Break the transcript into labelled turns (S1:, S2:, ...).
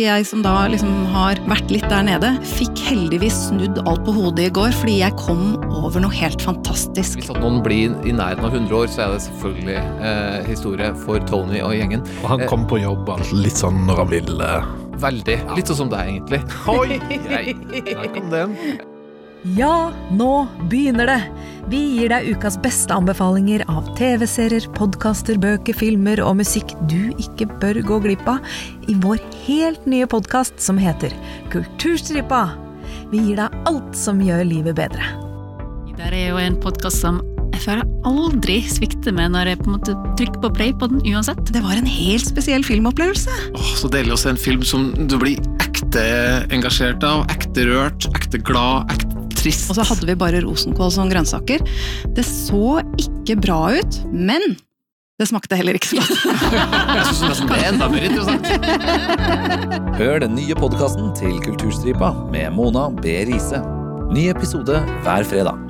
S1: Jeg som da liksom har vært litt der nede, fikk heldigvis snudd alt på hodet i går, fordi jeg kom over noe helt fantastisk.
S2: Hvis at noen blir i nærheten av 100 år, så er det selvfølgelig eh, historie for Tony og gjengen.
S3: Og han kommer på jobb og alt litt sånn når han vil. eh.
S2: Veldig. Litt sånn som deg, egentlig.
S3: Oi! Jeg, der kom den.
S4: Ja, nå begynner det! Vi gir deg ukas beste anbefalinger av TV-serier, podkaster, bøker, filmer og musikk du ikke bør gå glipp av i vår helt nye podkast som heter Kulturstripa. Vi gir deg alt som gjør livet bedre.
S5: Der er jo en podkast som jeg føler aldri svikter meg når jeg på en måte trykker på play på den uansett.
S1: Det var en helt spesiell filmopplevelse.
S6: Åh, så deilig å se en film som du blir ekte engasjert av, ekte rørt, ekte glad, ekte trist.
S1: Og så hadde vi bare rosenkål som grønnsaker. Det så ikke bra ut, men det smakte heller ikke så godt.
S2: Jeg synes nesten det er enda mer interessant.
S7: Hør den nye podkasten til Kulturstripa med Mona B. Riise. Ny episode hver fredag.